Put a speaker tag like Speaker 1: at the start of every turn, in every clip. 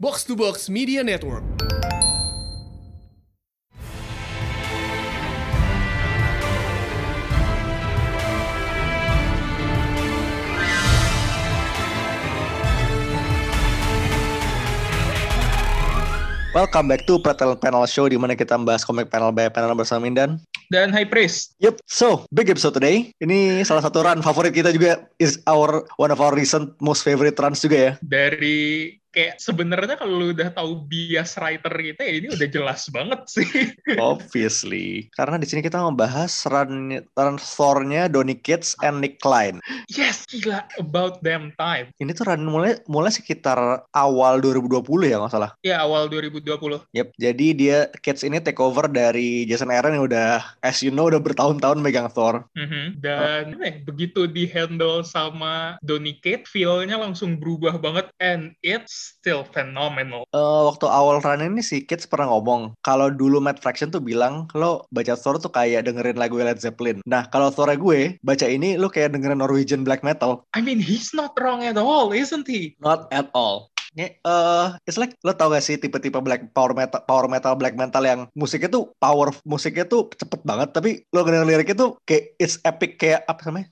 Speaker 1: Box to Box Media Network.
Speaker 2: Welcome back to Panel Panel Show di mana kita membahas komik panel by panel bersama Mindan.
Speaker 3: dan High Priest.
Speaker 2: Yep, so big episode today. Ini salah satu run favorit kita juga is our one of our recent most favorite runs juga ya.
Speaker 3: Dari kayak sebenarnya kalau lu udah tahu bias writer kita ya ini udah jelas banget sih.
Speaker 2: Obviously. Karena di sini kita membahas run run Thor-nya Donny Cates and Nick Klein.
Speaker 3: Yes, gila about damn time.
Speaker 2: Ini tuh run mulai mulai sekitar awal 2020 ya nggak salah.
Speaker 3: Ya awal 2020.
Speaker 2: Yep. Jadi dia Cates ini take over dari Jason Aaron yang udah as you know udah bertahun-tahun megang Thor.
Speaker 3: Mhm. Dan eh, begitu di-handle sama Donny Kate, feel-nya langsung berubah banget and it's still phenomenal.
Speaker 2: Eh, waktu awal run ini si Kids pernah ngomong kalau dulu Matt Fraction tuh bilang lo baca Thor tuh kayak dengerin lagu Led Zeppelin. Nah kalau Thor gue baca ini lo kayak dengerin Norwegian black metal.
Speaker 3: I mean, he's not wrong at all, isn't he?
Speaker 2: Not at all. Ini, eh, it's like lo tau gak sih tipe-tipe black power metal power metal black metal yang musiknya tuh power musiknya tuh cepet banget tapi lo denger liriknya tuh kayak it's epic kayak apa namanya?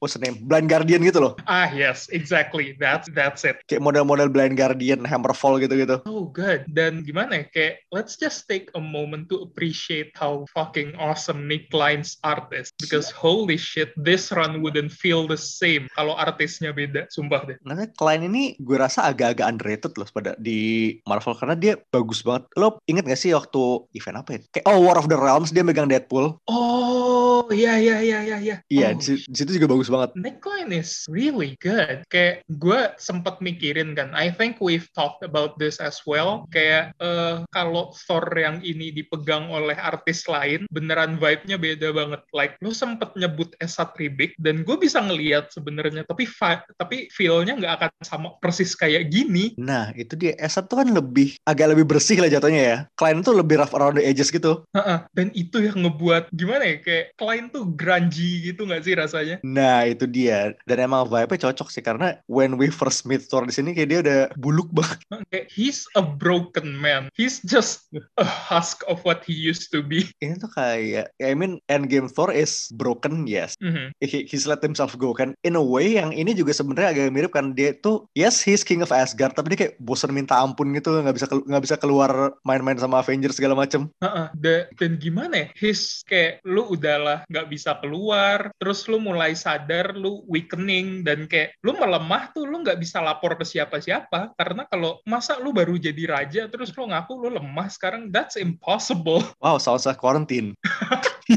Speaker 2: What's the name? Blind Guardian gitu loh.
Speaker 3: Ah, yes, exactly. That's that's it.
Speaker 2: Kayak model-model Blind Guardian, Hammerfall gitu-gitu.
Speaker 3: Oh good. Dan gimana ya, kayak let's just take a moment to appreciate how fucking awesome Nick Klein's art is. Because holy shit, this run wouldn't feel the same kalau artisnya beda. Sumpah deh.
Speaker 2: Nah, Klein ini gue rasa agak-agak underrated loh pada di Marvel karena dia bagus banget. Lo inget gak sih waktu event apa ya? Kayak oh War of the Realms dia megang Deadpool.
Speaker 3: Oh, ya ya ya ya ya.
Speaker 2: Iya, di
Speaker 3: Oh,
Speaker 2: si- di situ juga bagus banget.
Speaker 3: Nick Klein is really good. Kayak gue sempat mikirin kan, I think we've talked about this as well. Kayak eh, kalau Thor yang ini dipegang oleh artis lain, beneran vibe-nya beda banget. Like lu sempet nyebut Esa Tribik dan gue bisa ngeliat sebenarnya, tapi fi- tapi feel-nya nggak akan sama persis kayak gini.
Speaker 2: Nah, itu dia S1 tuh kan lebih agak lebih bersih lah jatuhnya ya. Klein tuh lebih rough around the edges gitu.
Speaker 3: Heeh. Dan itu yang ngebuat gimana ya, kayak Klein tuh grungy gitu nggak sih rasanya?
Speaker 2: Nah, itu dia. Dan emang vibe-nya cocok sih karena when we first meet Thor di sini kayak dia udah buluk banget.
Speaker 3: Kayak, He's a broken man. He's just a husk of what he used to be.
Speaker 2: Ini tuh kayak I mean Endgame Thor is broken, yes.
Speaker 3: Mhm.
Speaker 2: he, he's let himself go kan in a way yang ini juga sebenarnya agak mirip kan dia tuh yes he's king of Asgard tapi dia kayak bosan minta ampun gitu nggak bisa kelu- nggak bisa keluar main-main sama Avengers segala macem
Speaker 3: Heeh. Da- Dan gimana ya? His kayak lu udahlah nggak bisa keluar, terus lu mulai sadar lu weakening dan kayak lu melemah tuh lu nggak bisa lapor ke siapa-siapa karena kalau masa lu baru jadi raja terus lu ngaku lu lemah sekarang that's impossible.
Speaker 2: wow sounds like quarantine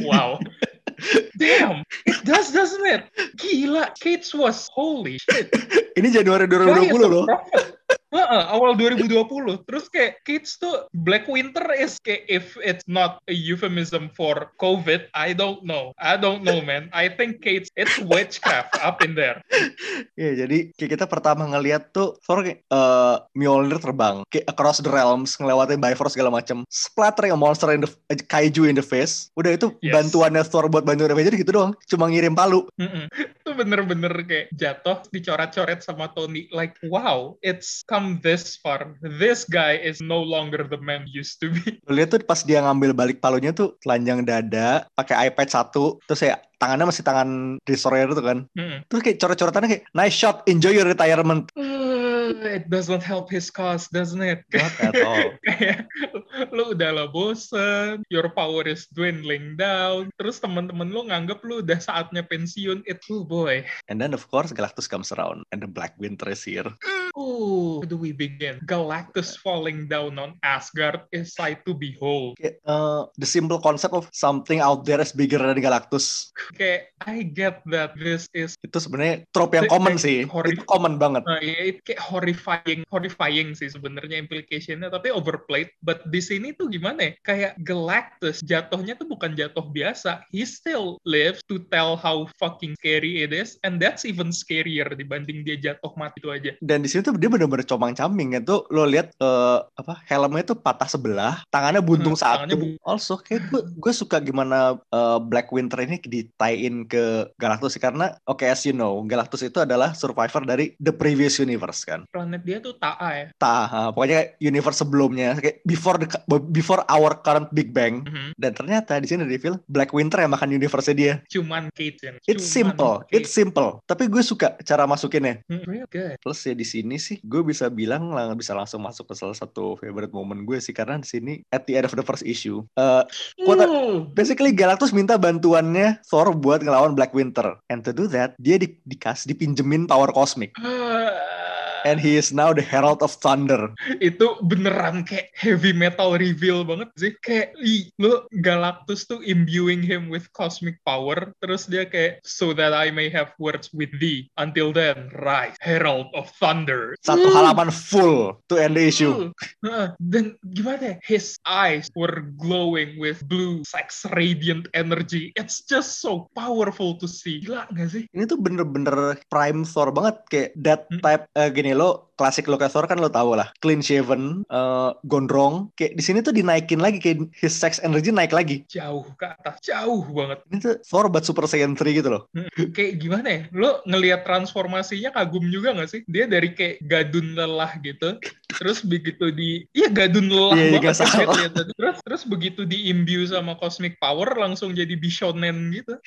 Speaker 3: Wow. Damn, it does doesn't it? Gila, Kate's was holy shit.
Speaker 2: ini Januari
Speaker 3: Guy
Speaker 2: 2020
Speaker 3: is a
Speaker 2: loh
Speaker 3: prophet. Heeh, awal 2020 terus kayak kids tuh Black Winter is kayak if it's not a euphemism for COVID I don't know I don't know man I think kids it's witchcraft up in there
Speaker 2: ya jadi kayak kita pertama ngelihat tuh Thor kayak, eh, Mjolnir terbang kayak across the realms ngelewatin Bifrost segala macem splattering a monster in the a kaiju in the face udah itu
Speaker 3: Yes.
Speaker 2: bantuannya Thor buat bantuin Avengers gitu doang cuma ngirim palu
Speaker 3: Mm-mm. itu bener-bener kayak jatuh dicoret-coret sama Tony like wow it's come this far this guy is no longer the man he used to be
Speaker 2: Lo lihat tuh pas dia ngambil balik palunya tuh telanjang dada, pakai iPad satu, terus ya tangannya masih tangan destroyer tuh kan.
Speaker 3: Mm-mm.
Speaker 2: Terus kayak coret-coretannya kayak nice shot, enjoy your retirement.
Speaker 3: Uh, it doesn't help his cause doesn't it
Speaker 2: Not at all.
Speaker 3: kayak lu udah lah bosen, your power is dwindling down, terus temen-temen lu nganggep lu udah saatnya pensiun, it oh boy.
Speaker 2: And then of course Galactus comes around and the Black Winter is here.
Speaker 3: Ooh, how do we begin? Galactus falling down on Asgard is sight to behold.
Speaker 2: Kayak, uh, the simple concept of something out there is bigger than Galactus.
Speaker 3: Kayak, I get that this is
Speaker 2: Itu sebenarnya trope yang common sih. Itu common banget.
Speaker 3: Nah, ya, it kayak horrifying, horrifying sih sebenarnya implication-nya, tapi overplayed. But di sini tuh gimana ya? Kayak Galactus jatuhnya tuh bukan jatuh biasa. He still lives to tell how fucking scary it is, and that's even scarier dibanding dia jatuh mati itu aja.
Speaker 2: Dan di sini itu dia bener-bener comang-caming kan tuh lo lihat eh, apa helmnya tuh patah sebelah tangannya buntung
Speaker 3: Hmm,
Speaker 2: satu
Speaker 3: tangannya bu-
Speaker 2: also kayak gue gue suka gimana eh, Black Winter ini ditain ke Galactus karena oke as you know Galactus itu adalah survivor dari the previous universe kan
Speaker 3: planet dia tuh Taa ya.
Speaker 2: tah pokoknya kayak universe sebelumnya kayak before the, before our current Big Bang
Speaker 3: Mhm.
Speaker 2: dan ternyata di sini reveal Black Winter yang makan universe dia
Speaker 3: Cuman Kate yang.
Speaker 2: It's
Speaker 3: cuman
Speaker 2: simple,
Speaker 3: Kate.
Speaker 2: it's simple. Tapi gue suka cara masukinnya.
Speaker 3: Hmm, real good.
Speaker 2: Plus ya di sini sih gue bisa bilang lah bisa langsung masuk ke salah satu favorite moment gue sih karena di sini at the end of the first issue. eh, Kota-
Speaker 3: Ooh.
Speaker 2: basically Galactus minta bantuannya Thor buat ngelawan Black Winter. And to do that, dia di, dikas dipinjemin power cosmic.
Speaker 3: Ah,
Speaker 2: And he is now the herald of thunder.
Speaker 3: itu beneran kayak heavy metal reveal banget sih kayak ih, lo Galactus tuh imbuing him with cosmic power terus dia kayak so that I may have words with thee until then rise herald of thunder
Speaker 2: Satu
Speaker 3: Hmm.
Speaker 2: halaman full to end the issue.
Speaker 3: Heeh. Dan gimana ya? His eyes were glowing with blue sex radiant energy. It's just so powerful to see. Gila gak sih?
Speaker 2: Ini tuh bener-bener prime Thor banget kayak that
Speaker 3: Hmm.
Speaker 2: type eh, gini lo klasik lo kayak Thor kan lo tau lah clean shaven, eh, gondrong. Kayak di sini tuh dinaikin lagi kayak his sex energy naik lagi.
Speaker 3: Jauh ke atas. Jauh banget.
Speaker 2: Ini tuh Thor buat Super Saiyan 3 gitu loh.
Speaker 3: Kayak gimana ya? Lo ngelihat transformasinya kagum juga gak sih? Dia dari kayak gadun lelah gitu. Terus begitu di... Iya gadun lelah
Speaker 2: Iya, iya,
Speaker 3: banget.
Speaker 2: gak
Speaker 3: kan,
Speaker 2: salah.
Speaker 3: lihat- lihat- Terus, terus begitu di-imbue sama cosmic power langsung jadi bishonen gitu.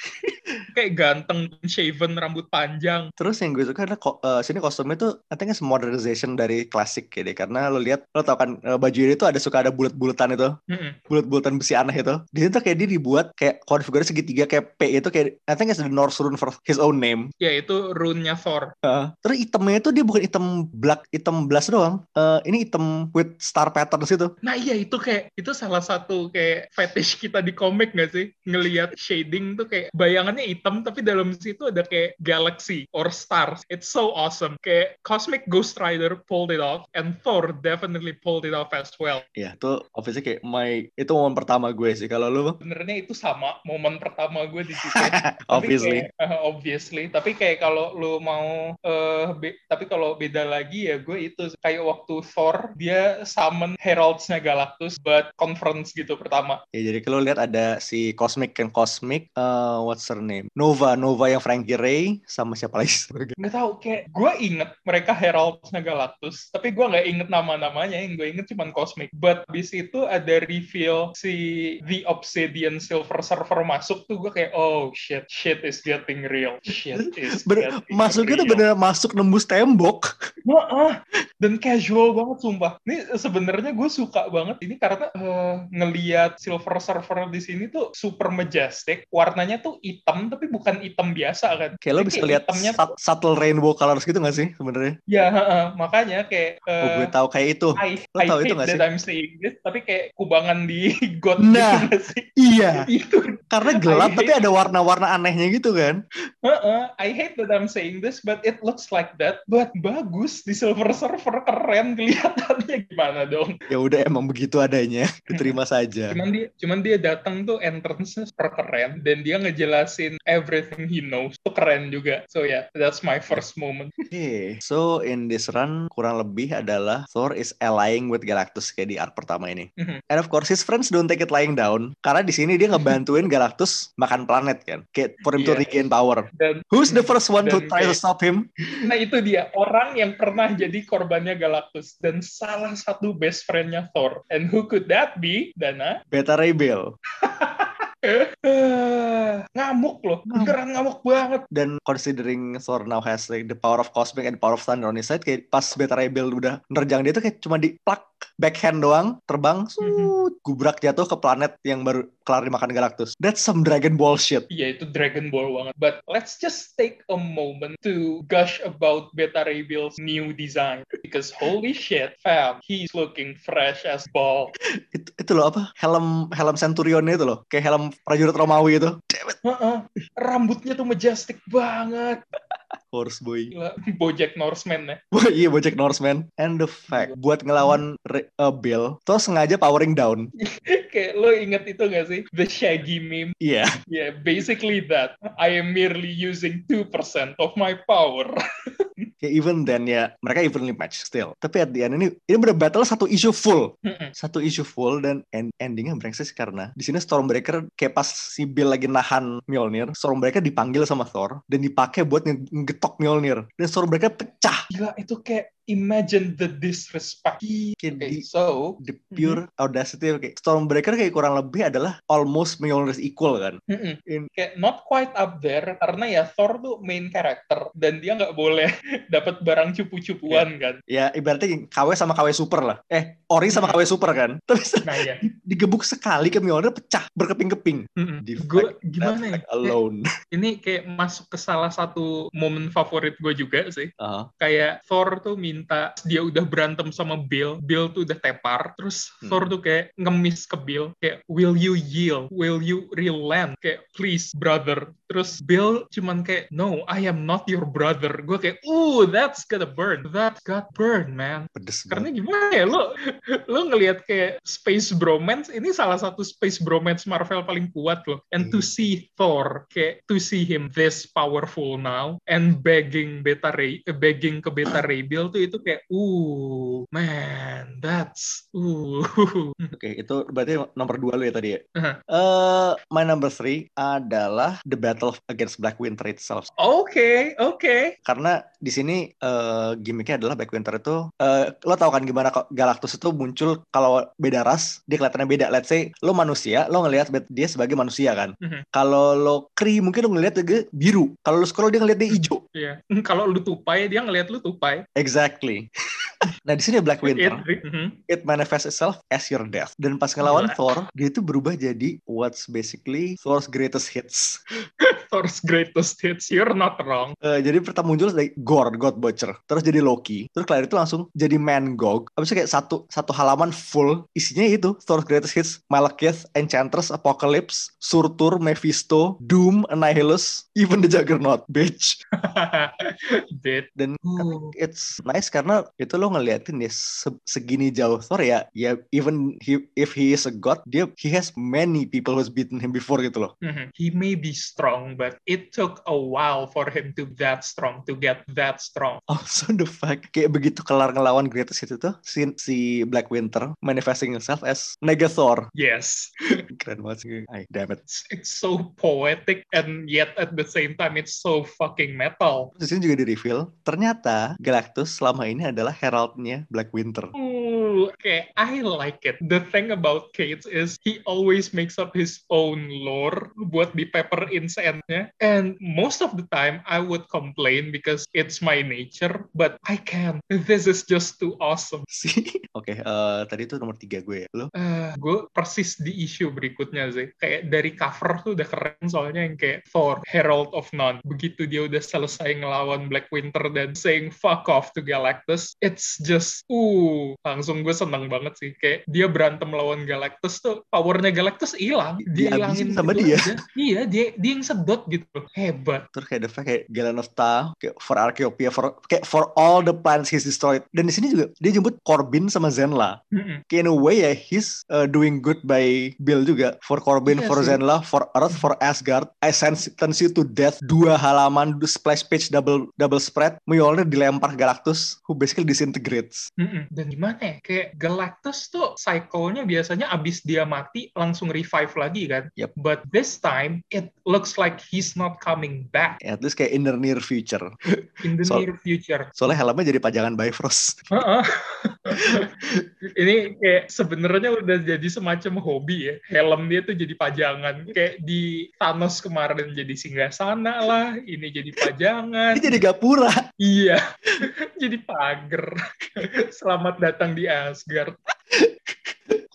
Speaker 3: kayak ganteng, shaven, rambut panjang.
Speaker 2: Terus yang gue suka adalah ko- eh, sini kostumnya tuh I think it's modernization dari klasik ya deh. Karena lo lihat lo tau kan eh, baju ini tuh ada suka ada bulat-bulatan itu,
Speaker 3: Heeh.
Speaker 2: bulat-bulatan besi aneh itu. Di sini tuh kayak dia dibuat kayak konfigurasi segitiga kayak P itu kayak I think it's the North Rune for his own name.
Speaker 3: Ya itu rune-nya Thor.
Speaker 2: Heeh. terus itemnya itu dia bukan item black, item blast doang. Eh, ini item with star patterns gitu. itu.
Speaker 3: Nah iya itu kayak itu salah satu kayak fetish kita di komik gak sih ngelihat shading tuh kayak bayangannya hitam tapi dalam situ ada kayak galaxy or stars. It's so awesome. Kayak Cosmic Ghost Rider pulled it off and Thor definitely pulled it off as well.
Speaker 2: Ya, itu obviously kayak my itu momen pertama gue sih. Kalau lo Bang?
Speaker 3: Sebenarnya itu sama momen pertama gue di situ. Tapi
Speaker 2: obviously.
Speaker 3: kayak, eh, obviously tapi kayak kalau lu mau eh, be- tapi kalau beda lagi ya gue itu kayak waktu Thor dia summon heralds-nya Galactus buat conference gitu pertama
Speaker 2: Ya jadi kalau lihat ada si Cosmic kan Cosmic, eh, what's her name? Nova, Nova yang Frankie Ray sama siapa lagi?
Speaker 3: nggak tahu kayak gue inget mereka heralds-nya Galactus tapi gue nggak inget nama-namanya yang gue inget cuman Cosmic but bis itu ada reveal si The Obsidian Silver Surfer masuk tuh gue kayak oh shit shit is getting real shit is
Speaker 2: Bener-
Speaker 3: getting
Speaker 2: Masuknya Hmm? tuh
Speaker 3: real.
Speaker 2: bener masuk nembus tembok.
Speaker 3: Heeh. dan casual banget sumpah. Ini sebenarnya gue suka banget ini karena eh, ngeliat silver server di sini tuh super majestic, warnanya tuh hitam tapi bukan hitam biasa kan.
Speaker 2: Kayak lo
Speaker 3: Jadi
Speaker 2: bisa lihat
Speaker 3: hitamnya tuh-
Speaker 2: sat- subtle rainbow colors gitu gak sih sebenarnya?
Speaker 3: ya heeh. makanya kayak eh,
Speaker 2: Oh gue tahu kayak itu.
Speaker 3: I,
Speaker 2: Lo
Speaker 3: I
Speaker 2: tahu
Speaker 3: hate
Speaker 2: itu nggak
Speaker 3: that I'm saying this, tapi kayak kubangan di god
Speaker 2: Nah.
Speaker 3: gitu nggak sih?
Speaker 2: Iya,
Speaker 3: Itu
Speaker 2: karena
Speaker 3: I
Speaker 2: gelap
Speaker 3: hate-
Speaker 2: tapi ada warna-warna anehnya gitu kan.
Speaker 3: Heeh, I hate that I'm saying this, but it looks like that. But bagus di Silver Surfer keren kelihatannya gimana dong?
Speaker 2: Ya udah emang begitu adanya, diterima saja.
Speaker 3: Cuman dia, cuman dia datang tuh entrance-nya super keren dan dia ngejelasin everything he knows tuh keren juga. So yeah, that's my first moment.
Speaker 2: Oke, so in this run kurang lebih adalah Thor is allying with Galactus kayak di art pertama ini.
Speaker 3: Mhm.
Speaker 2: And of course his friends don't take it lying down karena di sini dia ngebantuin Galactus makan planet kan, kayak for him to
Speaker 3: Iya.
Speaker 2: regain power.
Speaker 3: Dan
Speaker 2: Who's the first one to
Speaker 3: Dan
Speaker 2: try to
Speaker 3: kayak-
Speaker 2: stop him?
Speaker 3: nah itu dia orang yang pernah jadi korbannya Galactus dan salah satu best friend-nya Thor. And who could that be? Dana?
Speaker 2: Beta Ray Bill.
Speaker 3: Eh, ngamuk loh, beneran ngamuk banget.
Speaker 2: Dan considering Thor now has like the power of cosmic and the power of thunder on his side, kayak pas Beta Ray Bill udah nerjang dia tuh kayak cuma diplak backhand doang, terbang, suut, gubrak jatuh ke planet yang baru kelar dimakan Galactus. That's some Dragon Ball shit.
Speaker 3: Iya itu Dragon Ball banget. But let's just take a moment to gush about Beta Ray Bill's new design because holy shit, fam, he's looking fresh as ball.
Speaker 2: itu, itu loh apa helm helm centurionnya itu loh kayak helm prajurit Romawi itu damn it
Speaker 3: Heeh. Rambutnya tuh majestic banget.
Speaker 2: horse boy
Speaker 3: Gila, Bojack Norseman ya.
Speaker 2: wah iya Bojack Norseman and the fact buat ngelawan Re- uh, Bill terus sengaja powering down
Speaker 3: Kayak lo inget itu gak sih? The Shaggy meme. Ya,
Speaker 2: iya
Speaker 3: Yeah, basically that. I am merely using 2% of my power.
Speaker 2: ya even then ya mereka evenly match still tapi at the end ini ini bener battle satu isu full
Speaker 3: Mm-mm.
Speaker 2: satu isu full dan end endingnya brengsek sih karena di sini Stormbreaker kayak pas si Bill lagi nahan Mjolnir Stormbreaker dipanggil sama Thor dan dipakai buat nge- ngegetok Mjolnir dan Stormbreaker pecah
Speaker 3: Gila, itu kayak imagine the disrespect.
Speaker 2: kayak
Speaker 3: Okay,
Speaker 2: di-
Speaker 3: so,
Speaker 2: the pure audacity oke Stormbreaker kayak kurang lebih adalah almost Mjolnir equal kan
Speaker 3: mm-mm.
Speaker 2: In-
Speaker 3: kayak not quite up there karena ya Thor tuh main karakter dan dia nggak boleh dapat barang cupu-cupuan kan.
Speaker 2: ya ibaratnya KW sama KW super lah eh Ori sama KW super kan terus
Speaker 3: Nah ya,
Speaker 2: digebuk sekali ke Mjolnir pecah berkeping-keping Di
Speaker 3: gue gimana ya?
Speaker 2: Left alone
Speaker 3: Kayak Ini kayak masuk ke salah satu momen favorit gue juga sih.
Speaker 2: Heeh.
Speaker 3: kayak Thor tuh minta dia udah berantem sama Bill, Bill tuh udah tepar, terus
Speaker 2: Hmm.
Speaker 3: Thor tuh kayak ngemis ke Bill, kayak will you yield, will you relent, kayak please brother, terus Bill cuman kayak no I am not your brother, gue kayak ooh that's gonna burn, that got burn man,
Speaker 2: pedes
Speaker 3: karena gimana ya lo lo ngelihat kayak space bromance ini salah satu space bromance Marvel paling kuat loh and to
Speaker 2: Hmm.
Speaker 3: see Thor kayak to see him this powerful now and begging Beta Ray eh, begging ke Beta Ray Bill tuh itu kayak uh man that's uh
Speaker 2: banget. Oke, itu berarti nomor dua lu ya tadi ya.
Speaker 3: Uh-huh.
Speaker 2: Eh, my number three adalah the battle against Black Winter itself.
Speaker 3: oke oke
Speaker 2: Karena di sini eh, gimmicknya adalah Black Winter itu eh, lo tau kan gimana kok Galactus itu muncul kalau beda ras dia kelihatannya beda. Let's say lo manusia, lo ngelihat bet- dia sebagai manusia kan.
Speaker 3: Mhm.
Speaker 2: Kalau lo Kree mungkin lo ngelihat dia biru. Kalau lo scroll dia ngelihat dia hijau.
Speaker 3: ya kalau lu tupai dia ngelihat lu tupai
Speaker 2: Exactly. nah di sini Black Winter.
Speaker 3: It- mhm.
Speaker 2: it manifests itself as your death. Dan pas ngelawan
Speaker 3: Gila.
Speaker 2: Thor, dia itu berubah jadi what's basically Thor's greatest hits.
Speaker 3: Thor's greatest hits you're not wrong
Speaker 2: Eh, jadi pertama muncul dari Gore, God Butcher, terus jadi Loki, terus kelar itu langsung jadi Mangog. Habis itu kayak satu satu halaman full isinya itu Thor's greatest hits, Malekith, Enchantress, Apocalypse, Surtur, Mephisto, Doom, Annihilus, even the Juggernaut, bitch.
Speaker 3: Did.
Speaker 2: Dan it's nice karena itu lo ngeliatin ya se- segini jauh Thor ya ya even he, if he is a god dia he has many people who's beaten him before gitu loh
Speaker 3: Mhm. He may be strong, but it took a while for him to that strong, to get that strong.
Speaker 2: also the fact kayak begitu kelar ngelawan Greatest itu tuh si, si Black Winter manifesting himself as Negathor
Speaker 3: Yes,
Speaker 2: keren banget sih Ay, damn it
Speaker 3: it's, it's so poetic and yet at the same time it's so fucking metal.
Speaker 2: Terus disini juga di reveal ternyata Galactus selama ini adalah heraldnya Black Winter
Speaker 3: Ooh, okay, I like it. The thing about Cates is he always makes up his own lore buat di paper incense-nya. And most of the time I would complain because it's my nature, but I can't. This is just too awesome.
Speaker 2: sih oke eh, tadi itu nomor tiga gue ya lo
Speaker 3: gue Eh, persis di isu berikutnya sih kayak dari cover tuh udah keren soalnya yang kayak Thor Herald of None begitu dia udah selesai ngelawan Black Winter dan saying fuck off to Galactus it's just uh langsung gue seneng banget sih kayak dia berantem lawan Galactus tuh powernya Galactus hilang
Speaker 2: Dihabisin
Speaker 3: dihilangin
Speaker 2: sama
Speaker 3: gitu
Speaker 2: dia.
Speaker 3: aja. iya dia dia yang sedot gitu hebat
Speaker 2: terus kayak the fact kayak Galen of Tau, kayak for Archaeopia, for kayak for all the plants he's destroyed. Dan di sini juga dia jemput Corbin sama Zenla.
Speaker 3: Mm-mm.
Speaker 2: Kayak in a way ya he's uh, doing good by Bill juga. For Corbin,
Speaker 3: Iya
Speaker 2: for
Speaker 3: sih.
Speaker 2: Zenla, for Earth, for Asgard. I sense turns you to death. Dua halaman du- splash page double double spread. Mjolnir dilempar Galactus who basically disintegrates.
Speaker 3: Mm-mm. dan gimana ya kayak Galactus tuh cycle-nya biasanya abis dia mati langsung revive lagi kan
Speaker 2: Yep.
Speaker 3: but this time it looks like he's not coming back
Speaker 2: At least kayak in the near future.
Speaker 3: in the
Speaker 2: So-
Speaker 3: near future
Speaker 2: Soalnya helmnya jadi pajangan Bifrost.
Speaker 3: Heeh. ini kayak sebenarnya udah jadi semacam hobi ya helm dia tuh jadi pajangan kayak di Thanos kemarin jadi singgasana lah ini jadi pajangan
Speaker 2: Dia jadi Gapura.
Speaker 3: iya jadi pagar selamat datang di Asgard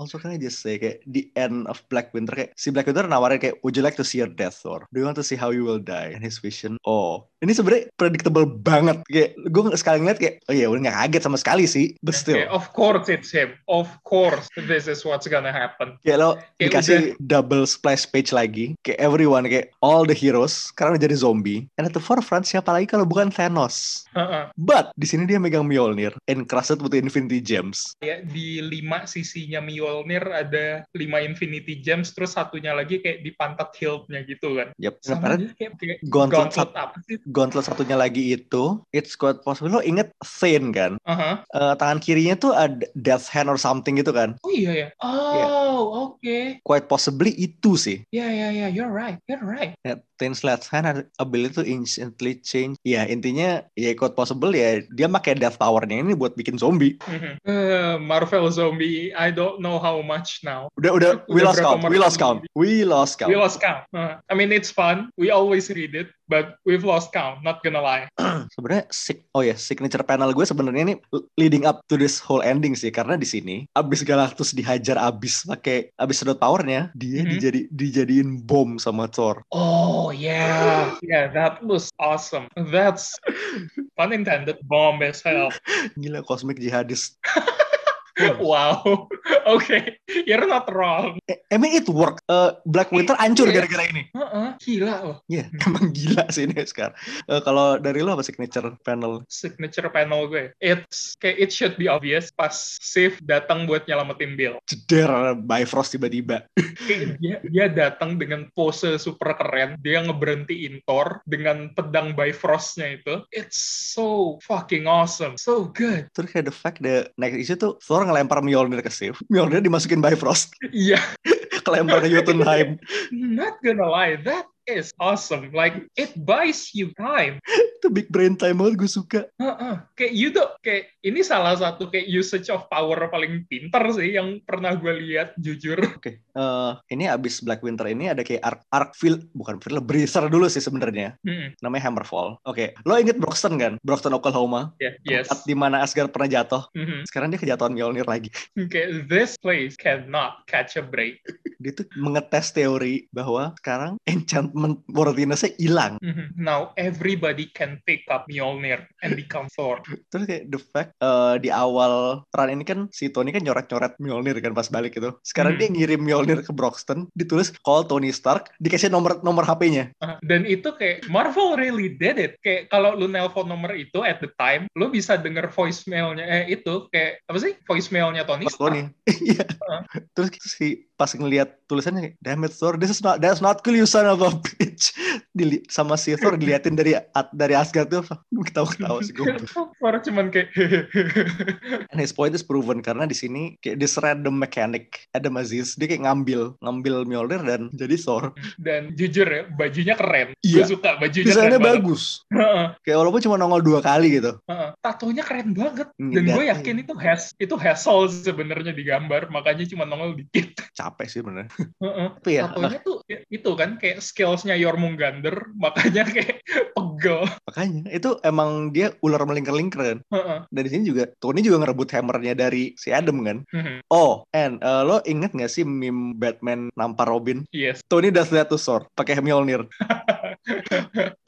Speaker 2: Also can I just say kayak the end of Black Winter kayak si Black Winter nawarin kayak would you like to see your death or do you want to see how you will die and his vision oh ini sebenarnya predictable banget kayak gue sekali ngeliat kayak oh ya udah nggak kaget sama sekali sih but
Speaker 3: Okay,
Speaker 2: still
Speaker 3: of course it's him. Of course this is what's gonna happen.
Speaker 2: kayak lo
Speaker 3: Kayak
Speaker 2: dikasih double splash page lagi kayak everyone kayak all the heroes karena udah jadi zombie and at the forefront siapa lagi kalau bukan Thanos
Speaker 3: Heeh.
Speaker 2: but di sini dia megang Mjolnir and crushed with the Infinity Gems
Speaker 3: Ya, di lima sisinya Mio Mjolnir ada lima Infinity Gems terus satunya lagi kayak di pantat hilt-nya gitu kan.
Speaker 2: Yep.
Speaker 3: Sama
Speaker 2: Sebenarnya
Speaker 3: dia kayak pakai
Speaker 2: gauntlet,
Speaker 3: gauntlet
Speaker 2: sat-
Speaker 3: apa sih?
Speaker 2: gauntlet satunya lagi itu, it's quite possible. Lo inget Sane kan?
Speaker 3: Aha.
Speaker 2: Eh, tangan kirinya tuh ada Death Hand or something gitu kan?
Speaker 3: Oh iya ya. Oh, oke.
Speaker 2: Quite possibly itu sih.
Speaker 3: Ya ya ya, you're right. You're right.
Speaker 2: Ya, Thanos left hand had ability to instantly change. Ya intinya ya quite possible ya dia pakai death powernya ini buat bikin zombie.
Speaker 3: Mhm. Eh, Marvel Zombie, I don't know how much now.
Speaker 2: Udah udah we
Speaker 3: Udah
Speaker 2: lost
Speaker 3: berapa
Speaker 2: count, we
Speaker 3: mereka
Speaker 2: lost count, we lost count.
Speaker 3: We lost count. Uh, I mean, it's fun. We always read it, but we've lost count. Not gonna lie.
Speaker 2: sebenarnya sig- oh ya signature panel gue sebenarnya ini leading up to this whole ending sih karena di sini abis Galactus dihajar abis pakai abis sedot powernya dia
Speaker 3: Mhm.
Speaker 2: dijadi dijadiin bom sama Thor
Speaker 3: Oh yeah, yeah. That was awesome. That's pun intended. Bomb as hell.
Speaker 2: gila cosmic jihadis
Speaker 3: wow. okay, you're not wrong.
Speaker 2: Eh, I mean it work Eh, Black Winter hancur
Speaker 3: Iya.
Speaker 2: gara-gara ini
Speaker 3: Uh-uh, gila loh.
Speaker 2: ya emang gila sih ini sekarang Eh, kalau dari lo apa signature panel
Speaker 3: Signature panel gue. It's kayak it should be obvious pas Sif datang buat nyelamatin Bill.
Speaker 2: jeder Bifrost tiba-tiba
Speaker 3: Kayak dia, dia datang dengan pose super keren. Dia ngeberhentiin Thor dengan pedang Bifrost-nya itu. It's so fucking awesome. So good.
Speaker 2: terus kayak the fact the next issue tuh Thor ngelempar Mjolnir ke Sif Mjolnir dimasukin Bifrost
Speaker 3: Yeah,
Speaker 2: kelempar ke Jotunheim
Speaker 3: not gonna lie. That is awesome. Like, it buys you time.
Speaker 2: itu big brain time banget gue suka
Speaker 3: Heeh. Kayak you tuh, kayak ini salah satu kayak usage of power paling pinter sih yang pernah gue lihat, jujur.
Speaker 2: Oke, eh, ini abis Black Winter ini ada kayak arc arc feel bukan feel breezer dulu sih sebenarnya
Speaker 3: Hmm,
Speaker 2: namanya Hammerfall. Oke, lo inget Broxton kan? Broxton Oklahoma,
Speaker 3: yeah, yes.
Speaker 2: tempat di mana Asgard pernah jatuh.
Speaker 3: Mhm.
Speaker 2: Sekarang dia kejatuhan Mjolnir lagi.
Speaker 3: Okay, this place cannot catch a break.
Speaker 2: Dia tuh mengetes teori bahwa sekarang enchantment Worthiness-nya hilang.
Speaker 3: Mhm. Now everybody can pick up Mjolnir and become Thor.
Speaker 2: Terus kayak the fact eh, di awal peran ini kan si Tony kan nyoret-nyoret Mjolnir kan pas balik itu. Sekarang
Speaker 3: Hmm.
Speaker 2: dia ngirim Mjolnir ke Broxton, ditulis call Tony Stark, dikasih nomor nomor HP-nya.
Speaker 3: Uh, Dan itu kayak Marvel really did it. Kayak kalau lu nelpon nomor itu at the time, lu bisa denger voicemailnya eh itu kayak apa sih voicemailnya Tony
Speaker 2: Mas
Speaker 3: Stark.
Speaker 2: Tony. Iya.
Speaker 3: Heeh.
Speaker 2: Terus si pas ngelihat tulisannya damn it Thor this is not that's not cool you son of a bitch. Dili sama si Thor diliatin dari at- dari Asgard tuh ketawa-ketawa sih gue.
Speaker 3: Thor cuman kayak
Speaker 2: And his point is proven karena di sini kayak this random mechanic Adam Aziz dia kayak ngambil ngambil Mjolnir dan jadi Thor.
Speaker 3: dan jujur ya bajunya keren. Gue
Speaker 2: Iya.
Speaker 3: suka bajunya
Speaker 2: Desainnya
Speaker 3: keren banget.
Speaker 2: bagus.
Speaker 3: Heeh,
Speaker 2: Kayak walaupun cuma nongol dua kali gitu.
Speaker 3: heeh. Tatonya keren banget.
Speaker 2: Hmm,
Speaker 3: Dan gue
Speaker 2: dan-
Speaker 3: yakin itu has itu hassle sebenarnya di gambar, makanya cuma nongol dikit.
Speaker 2: eh, Capek sih bener.
Speaker 3: Heeh.
Speaker 2: Tapi ya eh,
Speaker 3: Tatonya tuh ya, itu kan kayak skillsnya Jormungandr, makanya kayak pegel.
Speaker 2: makanya itu emang dia ular melingkar-lingkar kan.
Speaker 3: Heeh.
Speaker 2: Dan di sini juga Tony juga ngerebut hammernya dari si Adam kan.
Speaker 3: Mhm.
Speaker 2: Oh, and uh, lo inget gak sih meme Batman nampar Robin?
Speaker 3: Yes,
Speaker 2: Tony does that to Thor, pakai Mjolnir.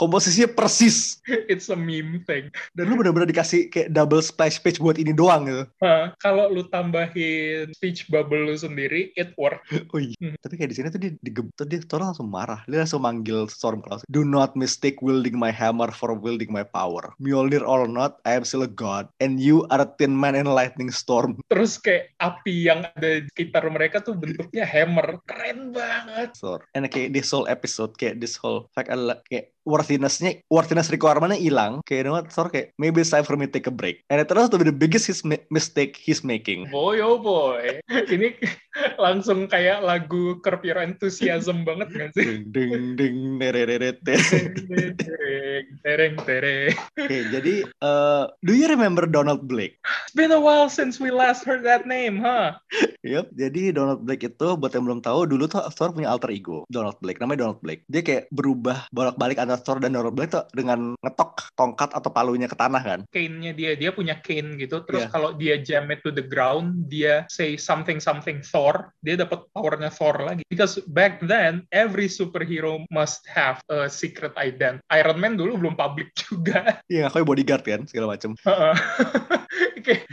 Speaker 2: Komposisinya persis.
Speaker 3: it's a meme thing.
Speaker 2: Dan lu bener-bener dikasih kayak double splash page buat ini doang gitu.
Speaker 3: Heeh. kalau lu tambahin speech bubble lu sendiri, it work.
Speaker 2: Oh iya.
Speaker 3: Hmm.
Speaker 2: Tapi kayak di sini tuh dia digebut, dia Thor langsung marah. Dia langsung manggil Stormcloud. Do not mistake wielding my hammer for wielding my power. Mjolnir or not, I am still a god. And you are a thin man in a lightning storm.
Speaker 3: Terus kayak api yang ada di sekitar mereka tuh bentuknya hammer. Keren banget.
Speaker 2: Thor. And kayak this whole episode, kayak this whole fact adalah kayak worthiness-nya, worthiness requirement-nya hilang. Kayak you know what, Thor kayak maybe it's time for me to take a break. And it turns out to be the biggest his mi- mistake he's making.
Speaker 3: Boy oh boy. Ini langsung kayak lagu Curb Your Enthusiasm banget gak sih?
Speaker 2: ding ding ding derereret, der.
Speaker 3: Tereng, tereng, tereng.
Speaker 2: Oke, jadi eh, do you remember Donald Blake?
Speaker 3: It's been a while since we last heard that name, huh?
Speaker 2: Yup, jadi Donald Blake itu buat yang belum tahu dulu tuh Thor punya alter ego Donald Blake, namanya Donald Blake. Dia kayak berubah bolak-balik antara Thor dan Donald Blake tuh dengan ngetok tongkat atau palunya ke tanah kan.
Speaker 3: Cane-nya dia, dia punya cane gitu. Terus
Speaker 2: Yeah.
Speaker 3: kalau dia jam it to the ground, dia say something something Thor, dia dapat powernya Thor lagi. Because back then every superhero must have a secret ident. Iron Man dulu belum public juga.
Speaker 2: Iya, ngakuin bodyguard kan segala macam.
Speaker 3: Heeh. Uh-uh. Kayak,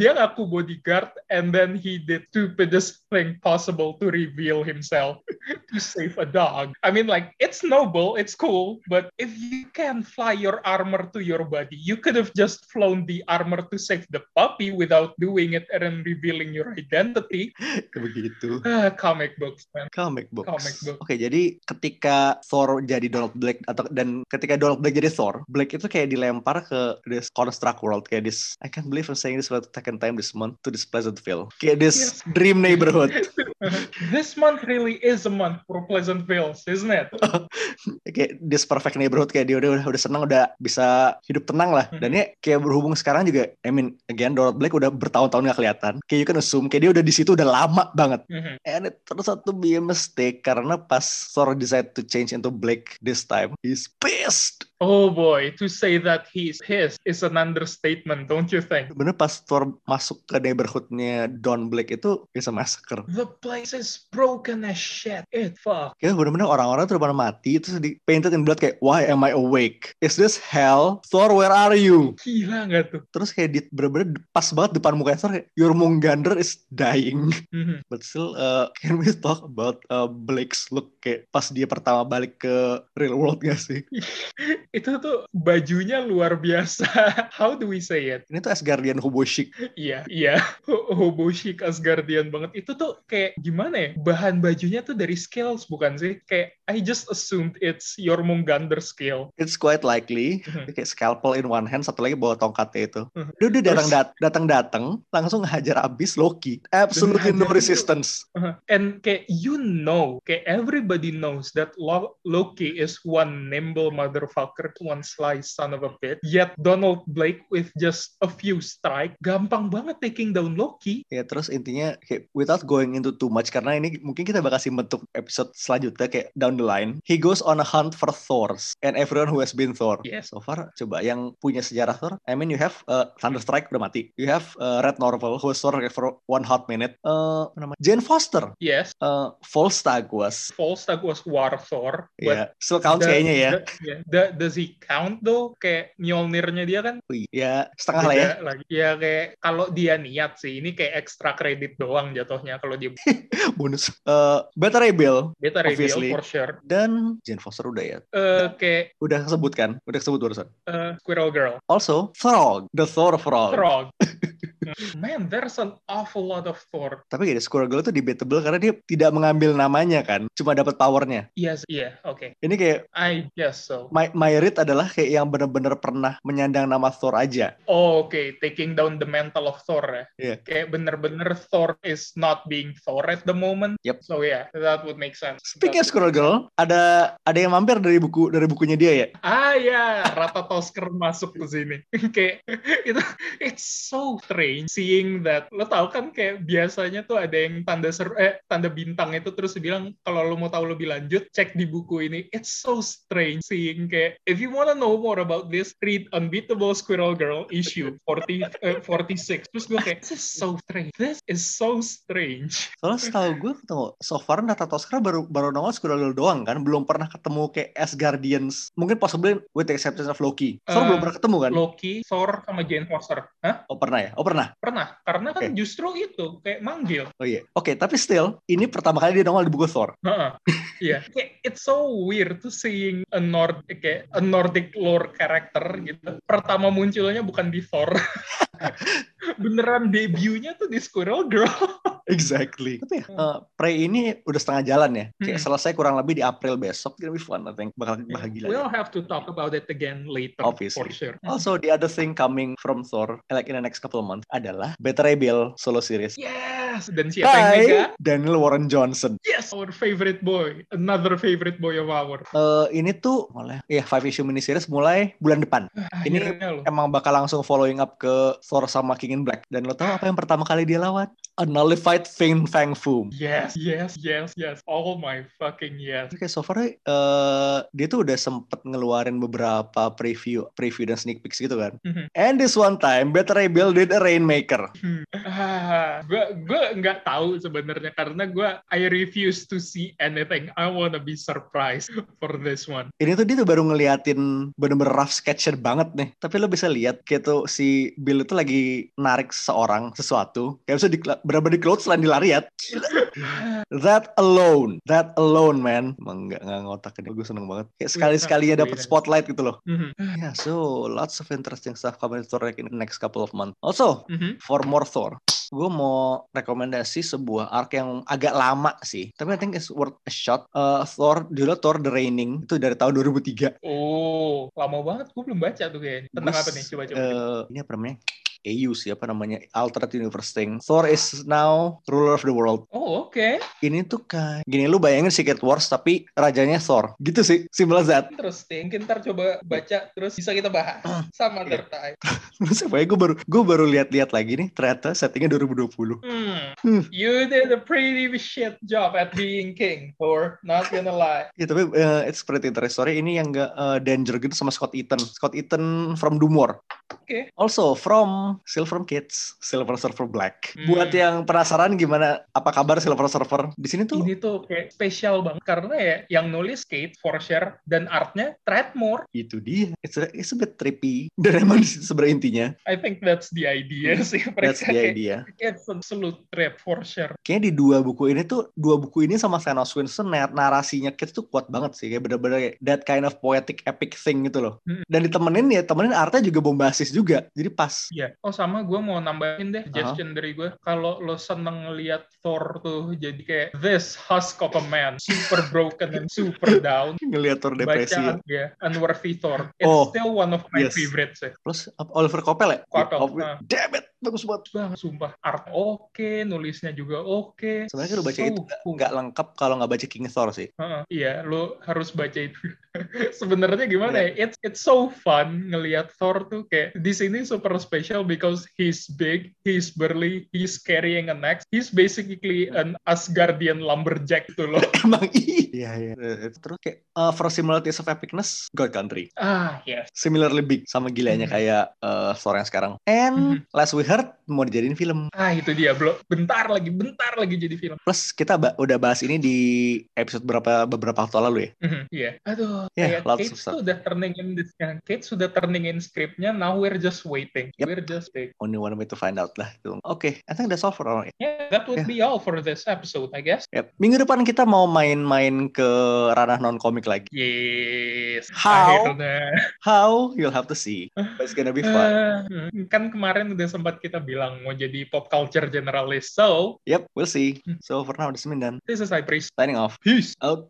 Speaker 3: dia ngaku bodyguard and then he did stupidest thing possible to reveal himself to save a dog. I mean like it's noble, it's cool, but if you can fly your armor to your body, you could have just flown the armor to save the puppy without doing it and then revealing your identity.
Speaker 2: begitu
Speaker 3: Ah, comic books man.
Speaker 2: comic book
Speaker 3: Comic book.
Speaker 2: oke jadi ketika Thor jadi Donald Blake atau dan ketika Donald Blake jadi Thor Blake itu kayak dilempar ke this construct world kayak this I can't believe I'm saying this for the second time this month to this Pleasantville kayak this dream neighborhood
Speaker 3: this month really is a month for Pleasant Pleasantville, isn't it?
Speaker 2: kayak this perfect neighborhood kayak dia udah udah senang udah bisa hidup tenang lah dan ya kayak berhubung sekarang juga I mean again Donald Blake udah bertahun-tahun gak kelihatan kayak you can assume kayak dia udah di situ udah lama banget
Speaker 3: Mhm.
Speaker 2: and it turns out to be a mistake karena pas Thor decide to change into Blake this time he's pissed
Speaker 3: Oh boy, to say that he's his is an understatement, don't you think?
Speaker 2: bener pas Thor masuk ke neighborhoodnya Don Blake itu it's a massacre
Speaker 3: The place is broken as shit. It fuck.
Speaker 2: Kayak bener-bener orang-orang tuh udah pada mati Terus di painted in blood kayak Why am I awake? Is this hell? Thor where are you?
Speaker 3: Gila nggak tuh?
Speaker 2: terus kayak di bener-bener pas banget depan muka Thor kayak your Mungander is dying
Speaker 3: Mhm.
Speaker 2: but still uh, can we talk about uh, Blake's look kayak pas dia pertama balik ke real world gak sih
Speaker 3: Itu tuh bajunya luar biasa. How do we say it?
Speaker 2: ini tuh Asgardian hobo chic
Speaker 3: Iya, iya. Ho- Hobo chic Asgardian banget. Itu tuh kayak gimana ya? Bahan bajunya tuh dari scales bukan sih? Kayak I just assumed it's Jormungandr scale.
Speaker 2: it's quite likely
Speaker 3: Mhm.
Speaker 2: Dia kayak scalpel in one hand satu lagi bawa tongkatnya itu
Speaker 3: Mhm.
Speaker 2: dia udah datang dat- datang datang langsung hajar abis Loki absolutely no
Speaker 3: hajar itu.
Speaker 2: resistance
Speaker 3: Uh-huh. And kayak you know, kayak everybody knows that Lo- Loki is one nimble motherfucker, one sly son of a bitch. Yet Donald Blake with just a few strike, gampang banget taking down Loki.
Speaker 2: Ya terus intinya kayak without going into too much karena ini mungkin kita bakal kasih bentuk episode selanjutnya kayak down the line. He goes on a hunt for Thors and everyone who has been Thor.
Speaker 3: Yes.
Speaker 2: So far coba yang punya sejarah Thor, I mean you have uh, Thunderstrike udah mati. You have uh, Red Norval who was Thor for one hot minute. Eh apa namanya? Jane Foster,
Speaker 3: Yes,
Speaker 2: eh Volstagg was.
Speaker 3: Volstagg was War Thor, but
Speaker 2: Ya, still counts
Speaker 3: the-
Speaker 2: kayaknya ya.
Speaker 3: the- yeah. The- does he count though? Kayak Mjolnirnya dia kan
Speaker 2: Wih, Ya, setengah lah ya.
Speaker 3: beda lagi. Ya kayak kalau dia niat sih, ini kayak extra kredit doang jatuhnya kalau dia
Speaker 2: Bonus. Eh Better Rebuild
Speaker 3: beta reveal
Speaker 2: Obviously.
Speaker 3: for sure.
Speaker 2: dan Jane Foster udah ya.
Speaker 3: Eh kayak
Speaker 2: Udah kesebut kan? Udah kesebut barusan.
Speaker 3: eh, Squirrel Girl.
Speaker 2: Also, Frog, the Thor Frog.
Speaker 3: Frog. Mm, Man, there's an awful lot of Thor.
Speaker 2: Tapi gini, Squirrel Girl itu debatable karena dia tidak mengambil namanya kan, cuma dapat powernya.
Speaker 3: Yes, yeah, okay.
Speaker 2: Ini kayak
Speaker 3: I guess so.
Speaker 2: My, Myrit adalah kayak yang benar-benar pernah menyandang nama Thor aja.
Speaker 3: Oh, okay, taking down the mantle of Thor. Eh?
Speaker 2: Yeah.
Speaker 3: Kayak bener-bener Thor is not being Thor at the moment.
Speaker 2: Yep.
Speaker 3: So yeah, that would make sense.
Speaker 2: Speaking of Squirrel Girl, ada ada yang mampir dari buku dari bukunya dia ya.
Speaker 3: Ah ya, Rata Tosker masuk ke sini. kayak itu it's so strange seeing that. Lo tau kan kayak biasanya tuh ada yang tanda seru eh tanda bintang itu terus bilang kalau lo mau tahu lebih lanjut cek di buku ini. It's so strange seeing kayak if you wanna know more about this read Unbeatable Squirrel Girl issue 40 eh, 46. Terus gue kayak this is so strange. This is so strange.
Speaker 2: Soalnya setahu gue ketemu, so far Nata Toskra baru baru nongol Squirrel Girl doang kan, belum pernah ketemu kayak Asgardians. Mungkin possibly with the exception of Loki. Thor
Speaker 3: Eh,
Speaker 2: belum pernah ketemu kan?
Speaker 3: Loki, Thor sama Jane Foster. Hah?
Speaker 2: Oh pernah ya? Oh pernah.
Speaker 3: Pernah. Karena
Speaker 2: Oke.
Speaker 3: kan justru itu kayak manggil.
Speaker 2: Oh iya. Oke, tapi still ini pertama kali dia nongol di buku Thor.
Speaker 3: Heeh. Iya. Kayak, It's so weird to seeing a Nord kayak a Nordic lore character gitu. Pertama munculnya bukan di Thor. Beneran debutnya tuh di Squirrel Girl.
Speaker 2: Exactly. Tapi ya,
Speaker 3: Hmm.
Speaker 2: eh, Prey ini udah setengah jalan ya. Kayak
Speaker 3: Mm-mm.
Speaker 2: selesai kurang lebih di April besok. Gonna be fun, I think. Bakal bahagia.
Speaker 3: Hmm. We'll hmm. have to talk about it again later
Speaker 2: Obviously. Oh,
Speaker 3: for sure.
Speaker 2: Also, the other thing coming from Thor, like in the next couple of months, adalah Better Rebuild solo series.
Speaker 3: Yes, dan siapa yang mega?
Speaker 2: Hai, Daniel Warren Johnson.
Speaker 3: Yes, our favorite boy, another favorite boy of our.
Speaker 2: Eh, ini tuh mulai, ya five issue mini series mulai bulan depan. Ini
Speaker 3: Akhirnya Ah, loh.
Speaker 2: Emang bakal langsung following up ke Thor sama King in Black. Dan lo tau apa yang pertama kali dia lawan? A Nullified Thing Fang Foom.
Speaker 3: Yes, yes, yes, yes. Oh my fucking yes.
Speaker 2: Oke, so far eh, dia tuh udah sempet ngeluarin beberapa preview, preview dan sneak peeks gitu kan.
Speaker 3: Mhm.
Speaker 2: And this one time, Better Rebel did a Rainmaker.
Speaker 3: Ah, gua gua nggak tahu sebenarnya karena gua I refuse to see anything. I wanna be surprised for this one.
Speaker 2: Ini tuh dia tuh baru ngeliatin bener-bener rough sketcher banget nih. Tapi lo bisa lihat gitu si Bill itu lagi narik seorang sesuatu. Kayak bisa di, bener-bener di clothes selain dilariat. That alone, that alone man. Emang nggak nggak ngotak ini. Gue seneng banget. Kayak sekali-sekali ya dapet spotlight gitu loh.
Speaker 3: Mhm,
Speaker 2: Yeah, so lots of interesting stuff coming to Torek in the next couple of months. Also,
Speaker 3: mhm.
Speaker 2: for more Thor, gue mau rekomendasi sebuah arc yang agak lama sih. Tapi I think it's worth a shot. Uh, Thor, dulu Thor The Raining, itu dari tahun 2003.
Speaker 3: Oh, lama banget gue belum baca tuh kayaknya. Tentang
Speaker 2: Mas,
Speaker 3: apa nih? Coba coba.
Speaker 2: eh, ini apa namanya? AU sih apa namanya alternate universe thing. Thor is now ruler of the world.
Speaker 3: oh, oke.
Speaker 2: Ini tuh kayak gini lu bayangin Secret Wars tapi rajanya Thor. Gitu sih, simple as that.
Speaker 3: Interesting. Mungkin ntar coba baca terus bisa kita bahas. Sama
Speaker 2: Iya.
Speaker 3: tertai.
Speaker 2: Terus apa ya? Gue baru gue baru lihat-lihat lagi nih ternyata settingnya 2020.
Speaker 3: Hmm.
Speaker 2: Hmm.
Speaker 3: You did a pretty shit job at being king, or not gonna lie.
Speaker 2: Ya tapi eh, it's pretty interesting. Sorry, ini yang gak eh, danger gitu sama Scott Eaton. Scott Eaton from Dumor.
Speaker 3: Oke.
Speaker 2: Also from Silver Kids, Silver Surfer Black.
Speaker 3: Hmm.
Speaker 2: Buat yang penasaran gimana apa kabar Silver Surfer di sini tuh
Speaker 3: Ini tuh kayak spesial banget karena ya yang nulis Kate Forsher dan artnya Treadmore.
Speaker 2: itu dia. It's a, it's a bit trippy. Dan emang di situ sebenarnya intinya
Speaker 3: I think that's the idea sih.
Speaker 2: Hmm. that's
Speaker 3: Mereka
Speaker 2: the
Speaker 3: kayak,
Speaker 2: idea.
Speaker 3: It's absolute trap Forsher.
Speaker 2: Kayaknya di dua buku ini tuh dua buku ini sama Thanos Winston nar- narasinya Kids tuh kuat banget sih kayak bener-bener kayak that kind of poetic epic thing gitu loh.
Speaker 3: Hmm.
Speaker 2: Dan ditemenin ya temenin artnya juga bombastis juga. Jadi pas.
Speaker 3: Iya. Oh sama gue mau nambahin
Speaker 2: Uh-huh.
Speaker 3: deh suggestion dari gue. Kalau lo seneng ngeliat Thor tuh jadi kayak this husk of a man, super broken and super down.
Speaker 2: ngeliat Thor depresi. ya.
Speaker 3: Bacaan ya, Unworthy Thor. It's
Speaker 2: Oh,
Speaker 3: still one of my
Speaker 2: yes.
Speaker 3: favorites ya.
Speaker 2: Terus apa, Oliver Coppel ya?
Speaker 3: Coppel,
Speaker 2: Coppel.
Speaker 3: ah.
Speaker 2: Damn it, bagus banget.
Speaker 3: Bang, sumpah art oke, nulisnya juga oke.
Speaker 2: Sebenarnya lu baca
Speaker 3: So
Speaker 2: itu nggak- nggak lengkap kalau nggak baca King Thor sih.
Speaker 3: Heeh, iya, lo harus baca itu. Sebenarnya gimana
Speaker 2: Iya.
Speaker 3: ya? It's it's so fun ngelihat Thor tuh kayak di sini super special because he's big, he's burly, he's carrying an axe. He's basically an Asgardian lumberjack tuh loh.
Speaker 2: Emang iya. Iya iya. Terus kayak uh, for similarities of epicness, God Country.
Speaker 3: ah, yes.
Speaker 2: Similarly big sama gilanya
Speaker 3: Mhm.
Speaker 2: kayak uh, Thor yang sekarang. And last we heard mau dijadiin film.
Speaker 3: Ah, itu dia, Bro. Bentar lagi, bentar lagi jadi film.
Speaker 2: Plus kita ba- udah bahas ini di episode berapa beberapa waktu lalu ya.
Speaker 3: Mhm, Iya. Aduh,
Speaker 2: Yeah,
Speaker 3: kayak
Speaker 2: lots
Speaker 3: Kate
Speaker 2: of stuff.
Speaker 3: tuh udah turning in this, ya, Kate sudah turning in scriptnya, now we're just waiting.
Speaker 2: Yep.
Speaker 3: We're just waiting.
Speaker 2: Only one way to find out lah. gitu. Oke, I think that's all for now.
Speaker 3: Yeah, that would be all for this episode, I guess.
Speaker 2: Yep. Minggu depan kita mau main-main ke ranah non komik lagi.
Speaker 3: Yes.
Speaker 2: How?
Speaker 3: Akhirnya.
Speaker 2: How you'll have to see, but it's gonna be fun.
Speaker 3: Eh, kan kemarin udah sempat kita bilang mau jadi pop culture generalist. So,
Speaker 2: Yep, we'll see. So for now, this is Mindan
Speaker 3: this is Cypress.
Speaker 2: signing off.
Speaker 3: Peace.
Speaker 2: Out.